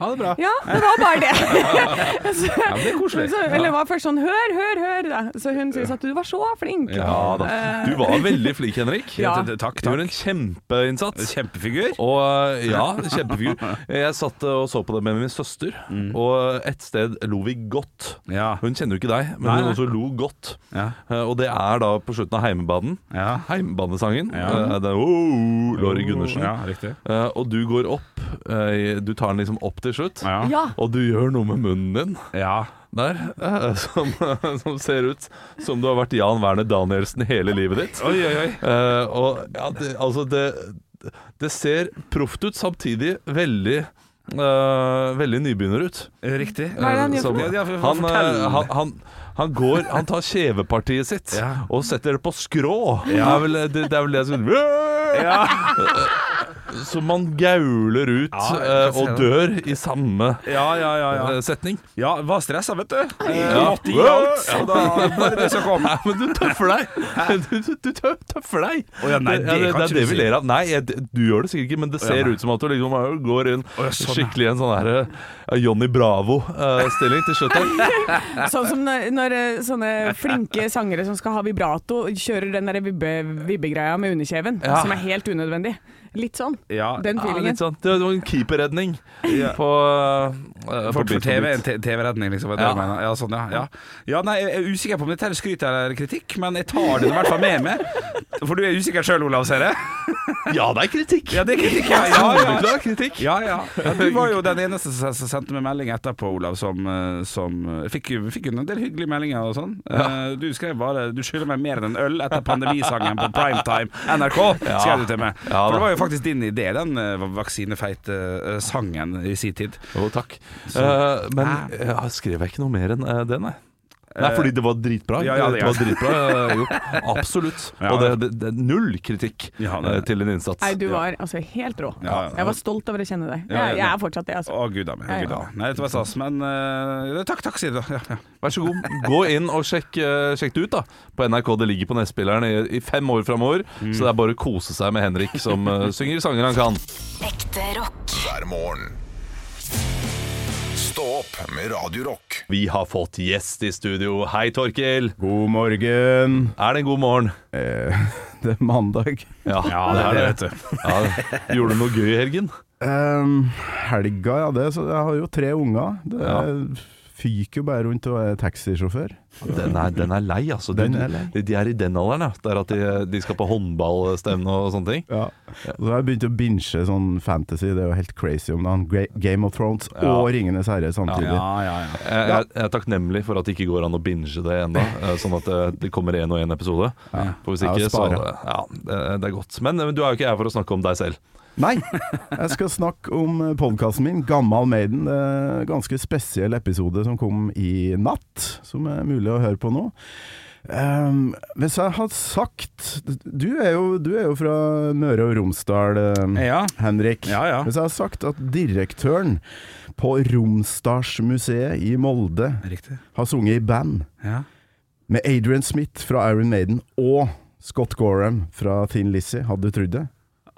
Speaker 5: Ha det bra.
Speaker 4: Ja, det var bare det. Så-
Speaker 5: men det er koselig.
Speaker 4: Så, eller det var først sånn Hør, hør, hør. Da. Så hun syntes at du var så flink.
Speaker 3: Ja da. Du var veldig flink, Henrik.
Speaker 4: Ja.
Speaker 3: Du gjorde en kjempeinnsats.
Speaker 5: Kjempefigur.
Speaker 3: Og eh, ja, kjempefigur. Jeg satt eh, og så på det med min søster,
Speaker 5: Mm.
Speaker 3: og et sted lo vi godt.
Speaker 5: Ja.
Speaker 3: Hun kjenner jo ikke deg, men
Speaker 5: Nei,
Speaker 3: hun
Speaker 5: nei.
Speaker 3: også lo godt.
Speaker 5: Ja.
Speaker 3: Eh, Og det er da på slutten av Heimebanen.
Speaker 5: Ja.
Speaker 3: Heimebanesangen.
Speaker 5: Ja.
Speaker 3: Eh, Det er oh, Lori Gundersen.
Speaker 5: Ja, riktig.
Speaker 3: Eh, Og du går opp. eh, Du tar den liksom opp til slutt.
Speaker 5: Ja.
Speaker 4: Ja.
Speaker 3: Og du gjør noe med munnen din
Speaker 5: Ja.
Speaker 3: der eh, som, som ser ut som du har vært Jan Werner Danielsen hele livet ditt.
Speaker 5: Oi, oi, oi.
Speaker 3: Eh, og ja, det, altså det, det ser proft ut, samtidig veldig eh, veldig nybegynner ut.
Speaker 5: Riktig.
Speaker 4: Hva er det han gjør
Speaker 3: Som-
Speaker 4: for
Speaker 5: noe? Ja, for- for-
Speaker 3: han,
Speaker 5: fortell.
Speaker 3: eh, han, han, han går Han tar kjevepartiet sitt
Speaker 5: Ja.
Speaker 3: og setter det på skrå. Det,
Speaker 5: Ja.
Speaker 3: er vel, det, det er vel det som Så man gauler ut
Speaker 5: Ja, jeg kan
Speaker 3: eh, og
Speaker 5: se
Speaker 3: dør i samme
Speaker 5: Ja, ja, ja. ja.
Speaker 3: eh, setning.
Speaker 5: Ja, var stressa, vet du. Ja. Måtte gi alt, så da var det det som kom.
Speaker 3: Nei, men du tøffer deg! Du, du, du tø- tøffer deg!
Speaker 5: Å ja, nei, det
Speaker 3: det,
Speaker 5: kan
Speaker 3: det
Speaker 5: ikke
Speaker 3: er det
Speaker 5: du
Speaker 3: vi
Speaker 5: si.
Speaker 3: ler av. Nei, jeg, du gjør det sikkert ikke, men det ser
Speaker 5: nei.
Speaker 3: ut som at du liksom bare går inn
Speaker 5: ja, sånn, ja.
Speaker 3: skikkelig i en sånn her eh, Johnny Bravo-stilling til slutt. her.
Speaker 4: Sånn som når, når eh, sånne flinke sangere som skal ha vibrato, kjører den der vibbe, vibbegreia med underkjeven,
Speaker 3: Ja.
Speaker 4: som er helt unødvendig. Litt sånn.
Speaker 5: Ja.
Speaker 4: Den
Speaker 3: Ja,
Speaker 4: feelingen.
Speaker 3: litt sånn. Det var en keeperredning
Speaker 5: Ja.
Speaker 3: på, eh, på
Speaker 5: For, for
Speaker 3: Beat
Speaker 5: TV, en
Speaker 3: Beat.
Speaker 5: te- TV-redning, liksom. var Det
Speaker 3: Ja.
Speaker 5: ja. Jeg mener. ja, sånn, ja, ja. ja, nei, Jeg er usikker på om dette er skryt eller kritikk, men jeg tar det i hvert fall med meg. For du er usikker sjøl, Olav, ser jeg.
Speaker 3: Ja, det er kritikk!
Speaker 5: Ja, det er kritikk. Ja, ja, ja.
Speaker 3: Soleklar kritikk.
Speaker 5: Ja, ja. ja Du var jo den eneste som som sendte meg melding etterpå, Olav, som, eh, som eh, fikk, jo- fikk jo en del hyggelige meldinger og sånn. Eh, Du skrev bare 'Du skylder meg mer enn en øl' etter pandemisangen på primetime NRK, skrev du til meg.
Speaker 3: Ja,
Speaker 5: For det
Speaker 3: da.
Speaker 5: var jo faktisk din idé, den eh, vaksinefeite eh, sangen i sin tid.
Speaker 3: Jo, takk. Eh, men eh, skrev jeg ikke noe mer enn eh, det, nei? Nei, fordi det var dritbra.
Speaker 5: Ja, ja, det
Speaker 3: det, var dritbra eh, gjort. Absolutt.
Speaker 5: Ja,
Speaker 3: Og det, det, det er null kritikk
Speaker 5: Ja, det-
Speaker 3: eh, til din innsats.
Speaker 4: Nei, du var altså helt rå.
Speaker 5: Ja, ja.
Speaker 4: Jeg var stolt over å kjenne deg.
Speaker 5: Ja, ja,
Speaker 4: Jeg, jeg er fortsatt det, altså.
Speaker 5: Å, gud a meg. å, Gud, a meg. Nei, det var stas, men eh, Takk, takk, sier du da. Ja, ja.
Speaker 3: Vær så god, gå inn og sjekk, eh, sjekk det ut da På NRK, det ligger på nettspilleren i, i fem år framover Så det er bare å kose seg med Henrik Som eh, synger sanger han kan
Speaker 6: Ekte rock.
Speaker 2: hver morgen. Stå opp med Radio Rock.
Speaker 3: Vi har fått gjest i studio Hei Torkil,
Speaker 7: God morgen.
Speaker 3: er det en god morgen?
Speaker 7: Eh, det er mandag.
Speaker 3: Ja,
Speaker 5: vet du.
Speaker 3: ja, Gjorde du noe gøy i helgen?
Speaker 7: Ehm, helga, ja det. Så jeg har jo tre unger. Det er fyker jo bare rundt og er taxisjåfør.
Speaker 3: Den er, den er lei, altså. De,
Speaker 7: Den er lei.
Speaker 3: de er i den alderen, ja. Der at de, de skal på håndballstevne og sånne ting.
Speaker 7: Ja. Og så har jeg begynt å binche sånn fantasy, det er jo helt crazy om dagen. Gra- Game of Thrones og Ringenes herre samtidig.
Speaker 5: Ja, ja, ja.
Speaker 3: Jeg, jeg, jeg er takknemlig for at det ikke går an å binge det ennå, eh, sånn at det, det kommer én og én episode. For hvis
Speaker 7: Ja,
Speaker 3: ikke, så
Speaker 7: spare.
Speaker 3: Ja, det, det er godt. Men, men du er jo ikke her for å snakke om deg selv.
Speaker 7: Nei! Jeg skal snakke om podkasten min, Gammal Maiden. Det er en ganske spesiell episode som kom i natt, som er mulig å høre på nå. Ehm, hvis jeg hadde sagt Du er jo, du er jo fra Møre og Romsdal, ehm,
Speaker 5: Eh, Ja.
Speaker 7: Henrik.
Speaker 5: Ja, ja.
Speaker 7: Hvis jeg hadde sagt at direktøren på Romsdalsmuseet i Molde
Speaker 5: Riktig.
Speaker 7: har sunget i band
Speaker 5: Ja.
Speaker 7: med Adrian Smith fra Iron Maiden og Scott Gorham fra Thin Lizzie, hadde du trodd det?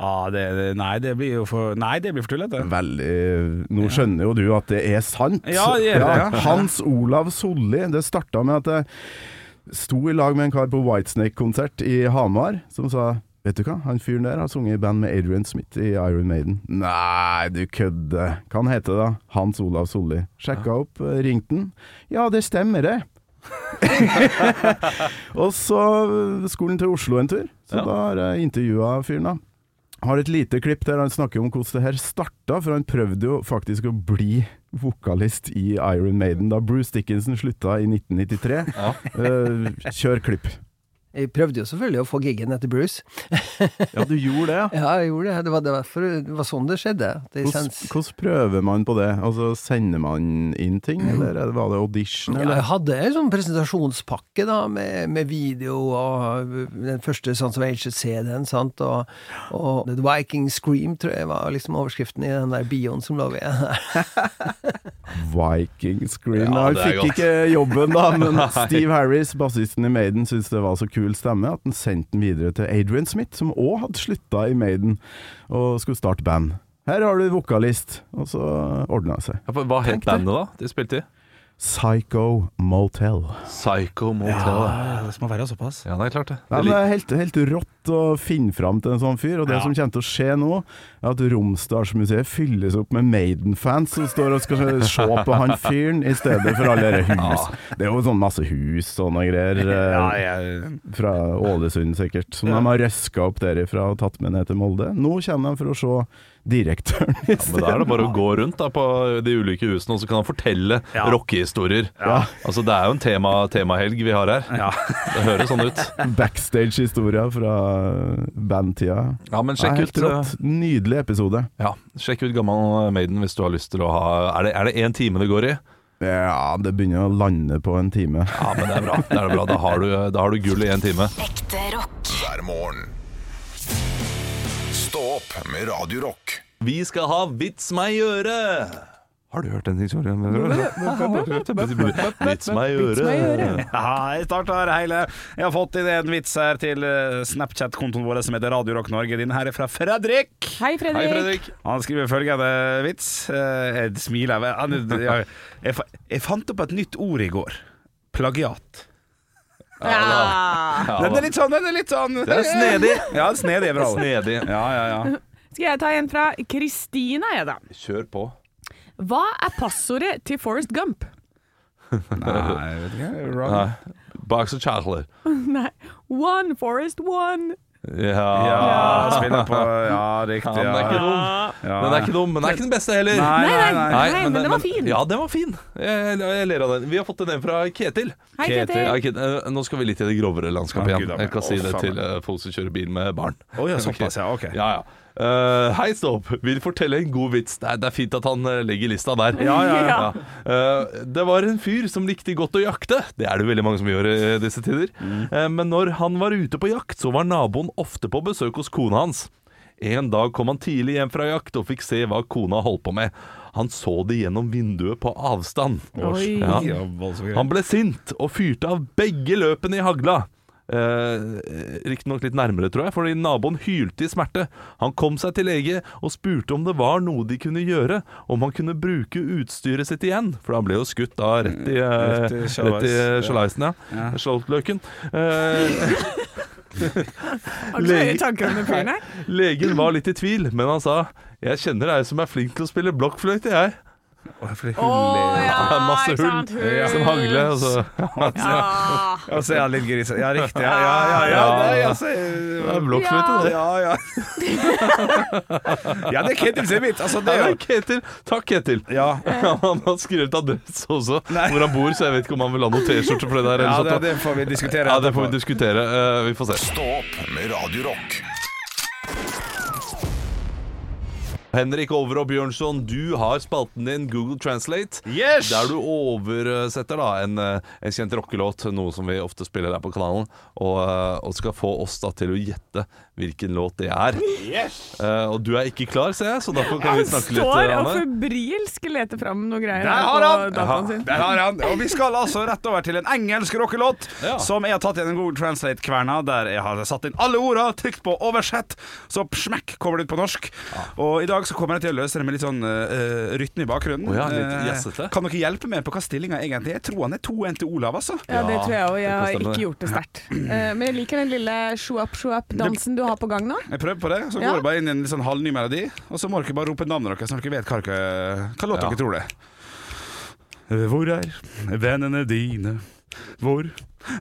Speaker 5: Ah, det, det- nei, det blir jo for Nei, det blir for tullete.
Speaker 7: Veldig Nå skjønner jo du at det er sant.
Speaker 5: Ja, det gjør det, ja.
Speaker 7: Hans Olav Solli. Det starta med at jeg sto i lag med en kar på Whitesnake-konsert i Hamar, som sa Vet du hva, han fyren der har sunget i band med Adrian Smith i Iron Maiden. Nei, du kødder. Hva han heter da? Hans Olav Solli. Sjekka opp, eh, ringte han. Ja, det stemmer, det. Og så eh, skulle han til Oslo en tur, så da har jeg intervjua fyren, da. Har et lite klipp der han snakker om hvordan det her starta, for han prøvde jo faktisk å bli vokalist i Iron Maiden da Bruce Dickinson slutta i 1993. Eh, kjør klipp.
Speaker 6: Jeg prøvde jo selvfølgelig å få giggen etter Bruce.
Speaker 7: Ja, du gjorde det,
Speaker 6: Ja, jeg gjorde det. Det var, det var, for, det var sånn det skjedde. Det
Speaker 7: Hvordan,
Speaker 6: kjennes
Speaker 7: hvordan prøver man på det? Altså, Sender man inn ting, eller er det- var det audition?
Speaker 6: ja,
Speaker 7: Eller?
Speaker 6: jeg hadde en sånn presentasjonspakke da, med, med video og eh, den første sånn Sons of Ages-CD-en, sant, og, og The Viking Scream, tror jeg var liksom overskriften i den der bioen som lå ved.
Speaker 7: Viking Scream.
Speaker 3: Ja,
Speaker 7: han
Speaker 3: det er
Speaker 7: fikk
Speaker 3: godt.
Speaker 7: ikke jobben, da, men Steve Harris, bassisten i Maiden, syntes det var så kul stemme at han sendte den videre til Adrian Smith, som òg hadde slutta i Maiden og skulle starte band. Her har du vokalist, og så ordna det seg.
Speaker 3: Ja, for Hva het
Speaker 7: Tenk det.
Speaker 3: bandet da de spilte i?
Speaker 7: Psycho Motel.
Speaker 3: Psycho Motel. Ja.
Speaker 5: Ja, det må være såpass.
Speaker 3: det er klart det.
Speaker 7: Nei,
Speaker 3: det
Speaker 7: men
Speaker 3: lik-
Speaker 7: det er helt, helt rått å finne fram til en sånn fyr, og det
Speaker 5: Ja.
Speaker 7: som kommer til å skje nå, er at Romsdalsmuseet fylles opp med Maiden-fans som står og skal se på han fyren i stedet for alle dere hus. Det er jo sånn masse hus og noe greier eh,
Speaker 5: Ja, jeg,
Speaker 7: fra Ålesund sikkert, som de har røska opp derifra og tatt med ned til Molde. Nå kommer de for å se direktøren i
Speaker 3: Men da
Speaker 7: stedet.
Speaker 3: er det bare å gå rundt da, på de ulike husene, og så kan han fortelle
Speaker 5: Ja.
Speaker 3: rockehistorier. Altså, det er jo en tema, temahelg vi har her.
Speaker 5: ja.
Speaker 3: Det høres sånn ut.
Speaker 7: Backstage-historia fra bandtida.
Speaker 3: Ja, men
Speaker 7: Det er
Speaker 3: sjekk
Speaker 7: helt
Speaker 3: ut, eh,
Speaker 7: rått. Nydelig episode.
Speaker 3: ja, sjekk ut Gammal Maiden hvis du har lyst til å ha Er det- er det én time det går i?
Speaker 7: Ja, det begynner å lande på en time.
Speaker 3: Ja, men det er bra. Det er bra. Da, har du, da har du gull i én time.
Speaker 1: Ekte rock.
Speaker 2: hver morgen. Stå opp med Radio Rock.
Speaker 3: Vi skal ha Vits meg i øret! Har du hørt den historien? Vits meg i øret.
Speaker 5: Ja, jeg starter hele. Jeg har fått inn en vits her til eh, Snapchat-kontoen vår som heter Radio Rock Norge. Din her er fra Fredrik.
Speaker 4: Hei, Fredrik.
Speaker 3: Hei, Fredrik.
Speaker 5: Han skriver følgende vits. Eh, Jeg smiler. men han- Jeg, jeg, fa- jeg fant opp et nytt ord i går. Plagiat.
Speaker 4: Ja.
Speaker 3: Ja,
Speaker 5: Den
Speaker 3: da.
Speaker 5: er litt sånn, den er litt sånn
Speaker 3: Det er snedig.
Speaker 5: Ja, snedig er bra.
Speaker 3: Snedig.
Speaker 5: Ja, ja, ja.
Speaker 4: Skal jeg ta en fra Kristina, jeg, da.
Speaker 3: Kjør på.
Speaker 4: Hva er passordet til Forrest Gump?
Speaker 5: Nei, jeg vet ikke. Wrong.
Speaker 3: Nei. Box of chocolate.
Speaker 4: Nei. One Forrest One.
Speaker 3: Ja.
Speaker 5: Ja, spiller på Ja, riktig.
Speaker 3: Den er ikke
Speaker 5: Ja.
Speaker 3: dum.
Speaker 5: Ja.
Speaker 3: Den er ikke dum, men den er ikke den beste heller.
Speaker 5: Nei, nei, nei.
Speaker 4: Nei, men den var fin.
Speaker 3: Ja, den var fin. Jeg, jeg ler av den. Vi har fått en fra Ketil.
Speaker 4: Hei, Ketil.
Speaker 3: Ja, Ketil, eh, Nå skal vi litt i det grovere landskapet
Speaker 5: Å,
Speaker 3: igjen.
Speaker 5: Gud, da.
Speaker 3: jeg kan si
Speaker 5: Å,
Speaker 3: det
Speaker 5: faen.
Speaker 3: til eh, folk som kjører bil med barn.
Speaker 5: Å ja, såpass, ja. Ok.
Speaker 3: Ja, ja. Eh, hei, stopp. Vil fortelle en god vits. Det er, det er fint at han eh, legger lista der.
Speaker 5: Ja, ja,
Speaker 4: ja.
Speaker 3: Eh, det var en fyr som likte godt å jakte. Det er det veldig mange som gjør i disse tider.
Speaker 5: Mm.
Speaker 3: Eh, men når han var ute på jakt, så var naboen ofte på besøk hos kona hans. En dag kom han tidlig hjem fra jakt og fikk se hva kona holdt på med. Han så det gjennom vinduet på avstand.
Speaker 4: Oi.
Speaker 3: Ja.
Speaker 5: Ja, voldsomt greit.
Speaker 3: Han ble sint og fyrte av begge løpene i hagla. Eh, Riktignok litt nærmere, tror jeg, fordi naboen hylte i smerte. Han kom seg til lege og spurte om det var noe de kunne gjøre, om han kunne bruke utstyret sitt igjen. For han ble jo skutt da rett i, eh,
Speaker 5: Mm, Rett i sjalais.
Speaker 3: rett i sjalaisen, ja. Skjoldløken. Eh,
Speaker 4: Har du så høye tanker om den fyren her?
Speaker 3: legen var litt i tvil, men han sa 'Jeg kjenner ei som er flink til å spille blokkfløyte, jeg'.
Speaker 5: Fordi
Speaker 4: Å
Speaker 5: hun ler.
Speaker 4: ja,
Speaker 3: Det er masse
Speaker 4: ikke sant,
Speaker 3: hull.
Speaker 4: hull.
Speaker 3: Som hagle. Altså.
Speaker 4: Ja.
Speaker 5: Og så er han litt grisete. Ja, riktig. Ja, ja, ja. ja,
Speaker 3: Ja.
Speaker 5: Nei, altså,
Speaker 3: Det er blokkfløyte, det.
Speaker 5: ja, ja. ja, det er Ketil Semit. Altså, det er
Speaker 3: Ja,
Speaker 5: jo
Speaker 3: Ketil. Takk, Ketil.
Speaker 5: ja.
Speaker 3: Han har skrevet adresse også,
Speaker 5: Nei.
Speaker 3: hvor han bor, så jeg vet ikke om han vil ha noe T-skjorte for det der.
Speaker 5: ja,
Speaker 3: eller
Speaker 5: det,
Speaker 3: sånt.
Speaker 5: det får vi diskutere.
Speaker 3: ja, det får
Speaker 5: etterpå.
Speaker 3: vi diskutere. Eh, vi får se.
Speaker 2: Stå opp med Radio Rock.
Speaker 3: Henrik Over og Bjørnson, du har spalten din Google Translate.
Speaker 5: Yes!
Speaker 3: Der du oversetter da en, eh, en kjent rockelåt, noe som vi ofte spiller her på kanalen, og, eh, og skal få oss da til å gjette hvilken låt det er. Eh, og du er ikke klar, ser jeg, så derfor kan vi
Speaker 4: Han
Speaker 3: snakke litt. eh,
Speaker 4: står og
Speaker 3: Anne.
Speaker 4: febrilsk leter fram noen greier
Speaker 5: Der
Speaker 4: her
Speaker 5: har
Speaker 4: på
Speaker 5: han!
Speaker 4: dataen sin.
Speaker 5: Der har han. Og vi skal altså rett over til en engelsk rockelåt
Speaker 3: Ja.
Speaker 5: som jeg har tatt i en god translate-kverna, der jeg har satt inn alle orda, trykt på 'oversett', så smekk kommer det ut på norsk. Og i dag så kommer jeg til å løse det med litt sånn eh, rytme i bakgrunnen.
Speaker 3: Å ja, litt
Speaker 5: Eh,
Speaker 3: jazzete.
Speaker 5: kan dere hjelpe meg på hva stillinga egentlig er? Jeg tror han er 2-1 til Olav, altså.
Speaker 4: Ja, det tror jeg òg. Jeg
Speaker 3: Ja, det
Speaker 4: har
Speaker 3: kan stemme,
Speaker 4: ikke
Speaker 3: det.
Speaker 4: gjort det sterkt. Eh, Men jeg liker den lille sjoap-sjoap-dansen du har på gang nå.
Speaker 5: Jeg prøver på det, så går
Speaker 4: Ja.
Speaker 5: det bare inn i en litt sånn halvny melodi, og så må dere bare rope navnet deres når dere vet hva, dere, hva låt
Speaker 3: Ja.
Speaker 5: dere tror det er. Hvor er vennene dine? Hvor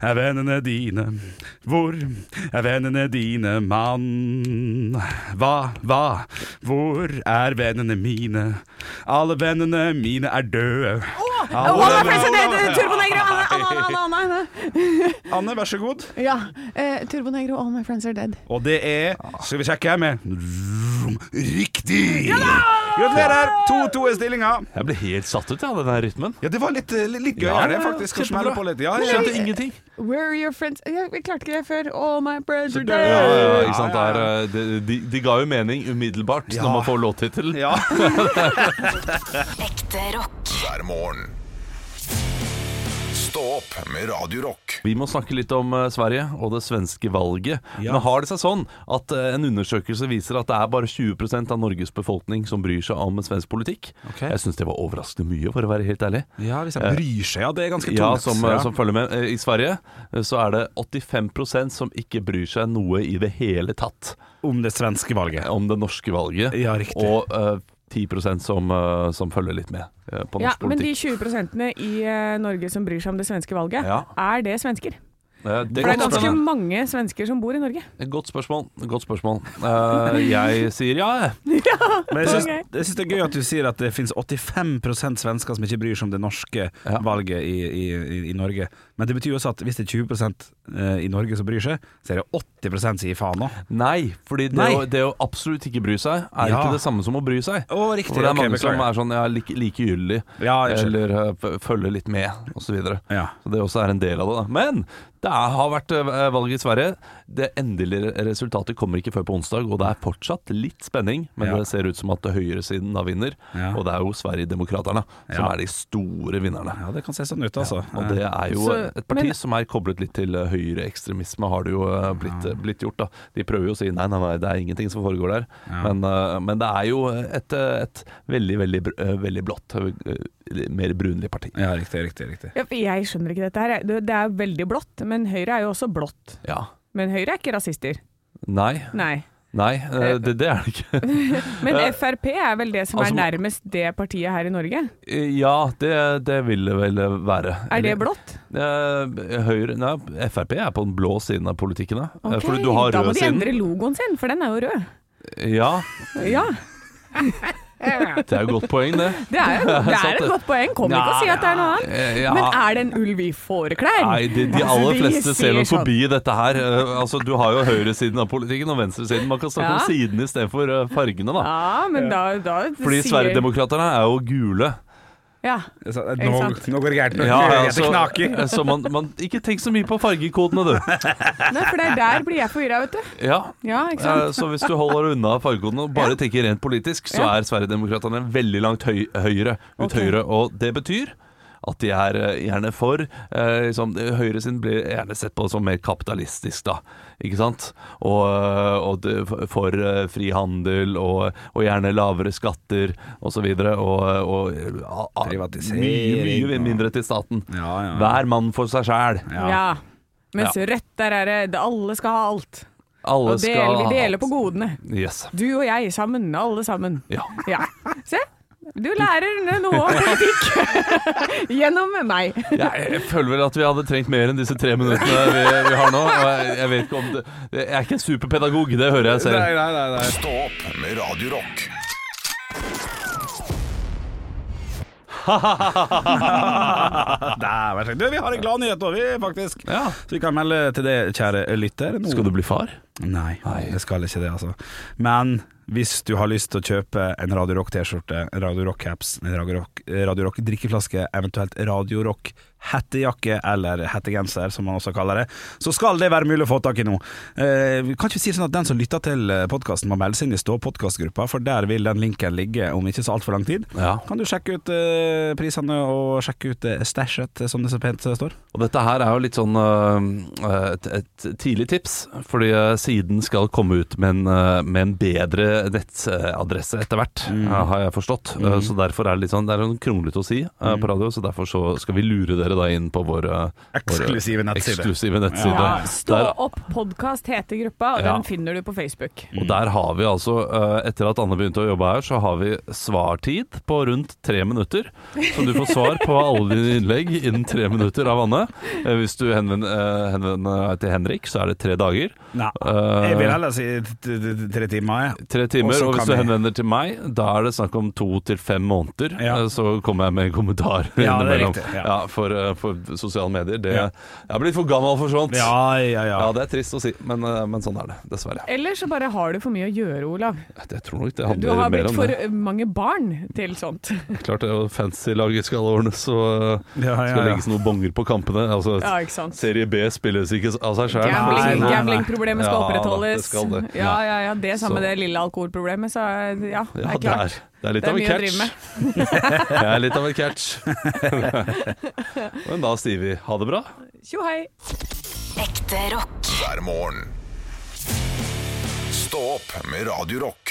Speaker 5: er vennene dine? Hvor er vennene dine, mann? Hva, hva, hvor er vennene mine? Alle vennene mine er døde.
Speaker 4: Oh,
Speaker 5: Alle
Speaker 4: Anna,
Speaker 5: vennene-
Speaker 4: president, Turbonegro! Anna, Anna, Anna, Anna, Anna.
Speaker 5: Anne, vær så god.
Speaker 4: Ja. eh, Turbonegro, all my friends are dead.
Speaker 5: Og det er Skal vi sjekke her med Vroom. Riktig! Gratulerer! 2-2 er stillinga.
Speaker 3: Jeg ble helt satt ut, jeg, av den her rytmen.
Speaker 5: Ja, det var litt, litt, litt
Speaker 3: Ja,
Speaker 5: gøyere,
Speaker 3: ja, ja,
Speaker 5: faktisk. Å
Speaker 3: kjempebra.
Speaker 5: smelle på litt. Ja,
Speaker 3: Jeg
Speaker 5: ja.
Speaker 3: skjønte ingenting.
Speaker 4: Where are your friends Jeg, jeg klarte ikke det før. All my friends are
Speaker 3: Ja,
Speaker 4: dead.
Speaker 3: ja, ikke sant?
Speaker 5: Ja, ja,
Speaker 3: Det er, eh, de, de, de ga jo mening umiddelbart
Speaker 5: Ja.
Speaker 3: når man får låttittel.
Speaker 5: Ja.
Speaker 1: Ekte rock.
Speaker 2: hver morgen. Stå opp med Radio Rock.
Speaker 3: Vi må snakke litt om eh, Sverige og det svenske valget. Men har det seg sånn at eh, en undersøkelse viser at det er bare 20 av Norges befolkning som bryr seg om svensk politikk?
Speaker 5: Ok.
Speaker 3: Jeg syns det var overraskende mye, for å være helt ærlig.
Speaker 5: ja, hvis jeg liksom, bryr seg, ja. Det er ganske tungt.
Speaker 3: Ja, som, eh, som følger med. Eh, I Sverige eh, så er det 85 som ikke bryr seg noe i det hele tatt
Speaker 5: Om det svenske valget.
Speaker 3: om det norske valget,
Speaker 5: Ja, riktig.
Speaker 3: og eh, 10 som, eh, som følger litt med eh, på norsk
Speaker 4: Ja, men de
Speaker 3: politikk.
Speaker 4: 20 i eh, Norge som bryr seg om det svenske valget,
Speaker 3: Ja.
Speaker 4: er det svensker?
Speaker 3: Eh, det
Speaker 4: For det er
Speaker 3: godt
Speaker 4: ganske
Speaker 3: spørsmål.
Speaker 4: mange svensker som bor i Norge.
Speaker 3: Godt spørsmål. Godt spørsmål. Eh, jeg sier ja, jeg.
Speaker 5: Men jeg syns,
Speaker 4: Ok.
Speaker 5: jeg syns det er gøy at du sier at det finnes 85 svensker som ikke bryr seg om det norske
Speaker 3: Ja.
Speaker 5: valget i, i, i, i Norge. Men det betyr jo også at hvis det er 20 i Norge som bryr seg, så er det 80 som sier faen òg.
Speaker 3: Nei, fordi det,
Speaker 5: Nei.
Speaker 3: Å, det å absolutt ikke bry seg er
Speaker 5: Ja.
Speaker 3: ikke det samme som å bry seg.
Speaker 5: Å, riktig.
Speaker 3: For det er
Speaker 5: Ok,
Speaker 3: mange som
Speaker 5: beklager.
Speaker 3: er sånn ja, like, likegyldig,
Speaker 5: Ja, jeg skjønner.
Speaker 3: eller eh, f- følger litt med, osv. Så, videre.
Speaker 5: Ja.
Speaker 3: så det også er en del av det. da. Men det er, har vært eh, valg i Sverige. Det endelige resultatet kommer ikke før på onsdag, og det er fortsatt litt spenning. Men
Speaker 5: Ja.
Speaker 3: det ser ut som at høyresiden da vinner,
Speaker 5: Ja.
Speaker 3: og det er jo Sverigedemokraterna som
Speaker 5: Ja.
Speaker 3: er de store vinnerne.
Speaker 5: ja, det kan se sånn ut, altså.
Speaker 3: Og det er jo
Speaker 4: Så-
Speaker 3: et parti
Speaker 4: men-
Speaker 3: som er koblet litt til eh, høyreekstremisme, har det jo eh, blitt, blitt gjort. da De prøver jo å si nei, nei, nei, det er ingenting som foregår der. Men, eh, men det er jo et, eh, et veldig, veldig, br- eh, veldig blått, eh, mer brunlig parti.
Speaker 5: Ja, riktig, riktig. riktig.
Speaker 4: Ja, for Jeg skjønner ikke dette her. jeg. Det det er veldig blått, men Høyre er jo også blått.
Speaker 3: Ja.
Speaker 4: Men Høyre er ikke rasister.
Speaker 3: Nei.
Speaker 4: Nei.
Speaker 3: Nei, eh, det, det er det ikke.
Speaker 4: Men Frp er vel det som
Speaker 3: Eh, altså-
Speaker 4: er nærmest det partiet her i Norge?
Speaker 3: Eh, Ja, det, det vil det vel eh, være.
Speaker 4: Er det blått?
Speaker 3: Eh, Høyre Nei, Frp er på den blå siden av politikken, da. Eh,
Speaker 4: Ok,
Speaker 3: Fordi du har
Speaker 4: da må
Speaker 3: rød
Speaker 4: de
Speaker 3: siden.
Speaker 4: endre logoen sin, for den er jo rød.
Speaker 3: Ja,
Speaker 4: Ja,
Speaker 3: det er jo et godt poeng, det.
Speaker 4: det er, jo, det
Speaker 3: sant
Speaker 4: er
Speaker 3: det.
Speaker 4: et godt poeng. Kom ikke og si at det er noe annet.
Speaker 3: Eh, ja.
Speaker 4: Men er det en ulv i fåreklær?
Speaker 3: Nei, de, de
Speaker 4: Altså,
Speaker 3: aller fleste ser nok
Speaker 4: sånn-
Speaker 3: forbi dette her. Eh, altså, du har jo høyresiden av politikken og venstresiden. Man kan snakke
Speaker 4: Ja.
Speaker 3: om sidene istedenfor uh, fargene, da.
Speaker 4: Ja, men da, da
Speaker 3: Fordi Sverigedemokraterna er jo gule.
Speaker 4: Ja.
Speaker 5: Så, eh, nå,
Speaker 4: Ikke sant?
Speaker 5: nå går det gærent. Nå
Speaker 3: Ja,
Speaker 5: det knaker.
Speaker 3: eh, så man, man Ikke tenk så mye på fargekodene, du.
Speaker 4: Nei, for det er der blir jeg forvirra, vet du.
Speaker 3: Ja.
Speaker 4: Ja, ikke sant.
Speaker 3: Eh, Så hvis du holder unna fargekodene og bare tenker rent politisk, så
Speaker 4: Ja.
Speaker 3: er Sverigedemokraterna veldig langt høy, høyre ut
Speaker 4: Ok.
Speaker 3: høyre. Og det betyr at de er eh, gjerne for eh, liksom, Høyre sin blir gjerne sett på som mer kapitalistisk, da. Ikke sant? Og, eh, og det, for eh, fri handel og, og gjerne lavere skatter osv. Og, og, og a- a-
Speaker 5: Privatisering
Speaker 3: Mye, mye
Speaker 5: og-
Speaker 3: mindre til staten.
Speaker 5: Ja, ja, ja.
Speaker 3: Hver mann for seg sjæl.
Speaker 4: Ja. Mens Rødt, der er det alle skal ha alt.
Speaker 3: Alle
Speaker 4: Og
Speaker 3: skal
Speaker 4: dele,
Speaker 3: ha
Speaker 4: dele
Speaker 3: alt.
Speaker 4: på godene.
Speaker 3: Yes.
Speaker 4: Du og jeg sammen, alle sammen.
Speaker 3: Ja.
Speaker 4: Ja. Se, Du lærer noe om politikk gjennom meg.
Speaker 3: Jeg, jeg føler vel at vi hadde trengt mer enn disse tre minuttene vi, vi har nå. Og jeg, jeg vet ikke om det, Jeg er ikke en superpedagog, det hører jeg selv.
Speaker 5: Nei, nei, nei, nei.
Speaker 2: Stå opp med Radio Rock.
Speaker 5: Dæven skjegg. Du, vi har en glad nyhet òg, vi, faktisk.
Speaker 3: Ja.
Speaker 5: Så vi kan melde til det, kjære lytter. nå-
Speaker 3: Skal du bli far?
Speaker 5: Nei, jeg skal ikke det, altså. Men hvis du har lyst til å kjøpe en Radio Rock T-skjorte, en Radio Rock caps, en Radio Rock, Radio Rock drikkeflaske, eventuelt Radio Rock hettejakke eller hettegenser, som man også kaller det, så skal det være mulig å få tak i nå. Eh, kan ikke vi si sånn at den som lytter til podkasten må melde seg inn i Stå podkastgruppa, for der vil den linken ligge om ikke så altfor lang tid.
Speaker 3: Ja.
Speaker 5: Kan du sjekke ut eh, prisene og sjekke ut eh, stashet, som det så pent eh, står?
Speaker 3: Og dette her er jo litt sånn øh, øh, et, et tidlig tips, fordi øh, siden skal komme ut med en, øh, med en bedre nettadresse etter hvert, øh, har jeg forstått. Øh, så derfor er det litt sånn, det er sånn kronglete å si øh, på radio, så derfor så skal vi lure dere da inn på vår øh, vår, øh,
Speaker 5: Eksklusive nettside.
Speaker 3: eksklusive nettside.
Speaker 4: Ja, stå
Speaker 3: Der-
Speaker 4: opp podkast heter gruppa, og
Speaker 3: Ja.
Speaker 4: den finner du på Facebook.
Speaker 5: Mm.
Speaker 3: Og der har vi altså, eh, etter at Anne begynte å jobbe her, så har vi svartid på rundt tre minutter. Så du får svar på alle dine innlegg innen tre minutter av Anne. Eh, Hvis du henvender, eh, henvender deg til Henrik, så er det tre dager.
Speaker 5: Nei.
Speaker 3: Eh,
Speaker 5: Jeg vil heller si t- t- t- tre timer, jeg.
Speaker 3: Tre timer,
Speaker 5: Og så
Speaker 3: og hvis
Speaker 5: kan
Speaker 3: du
Speaker 5: vi-
Speaker 3: henvender til meg, da er det snakk om to til fem måneder.
Speaker 5: Ja.
Speaker 3: Eh, Så kommer jeg med kommentarer
Speaker 5: Ja, det er
Speaker 3: innimellom.
Speaker 5: riktig,
Speaker 3: Ja.
Speaker 5: ja.
Speaker 3: for, eh, for sosiale medier. Det,
Speaker 5: Ja.
Speaker 3: Jeg er blitt for gammel for sånt.
Speaker 5: Ja, ja, ja.
Speaker 3: Ja, det er trist å si, men, eh, men sånn er det. Dessverre.
Speaker 4: Eller så bare har du for mye å gjøre, Olav.
Speaker 3: Jeg tror nok det
Speaker 4: Du
Speaker 3: handler
Speaker 4: har
Speaker 3: mer
Speaker 4: blitt
Speaker 3: om
Speaker 4: for
Speaker 3: det.
Speaker 4: mange barn til sånt.
Speaker 3: Klart det, og fancy-laget skal ordnes, og eh,
Speaker 5: Ja, ja,
Speaker 3: skal
Speaker 5: ja.
Speaker 3: legges noen bonger på kampene. Altså,
Speaker 4: Ja, ikke sant.
Speaker 3: Serie B spilles ikke av seg sjøl.
Speaker 5: Nei, nei,
Speaker 4: Gambling-
Speaker 5: nei.
Speaker 4: Gamblingproblemet skal
Speaker 3: Ja, da, det
Speaker 4: opprettholdes.
Speaker 3: skal det.
Speaker 4: Ja, ja, ja. Det samme
Speaker 3: Så-
Speaker 4: med det lille alkoholproblemet, så eh, ja, det
Speaker 3: Ja,
Speaker 4: er
Speaker 3: det
Speaker 4: klart.
Speaker 3: er, det er litt
Speaker 4: Det er
Speaker 3: av en
Speaker 4: mye å drive med.
Speaker 3: catch. Det er litt av en catch. Men da sier vi ha det bra.
Speaker 4: Tjo hei.
Speaker 1: Ekte rock.
Speaker 2: hver morgen. Stå opp med Radio Rock.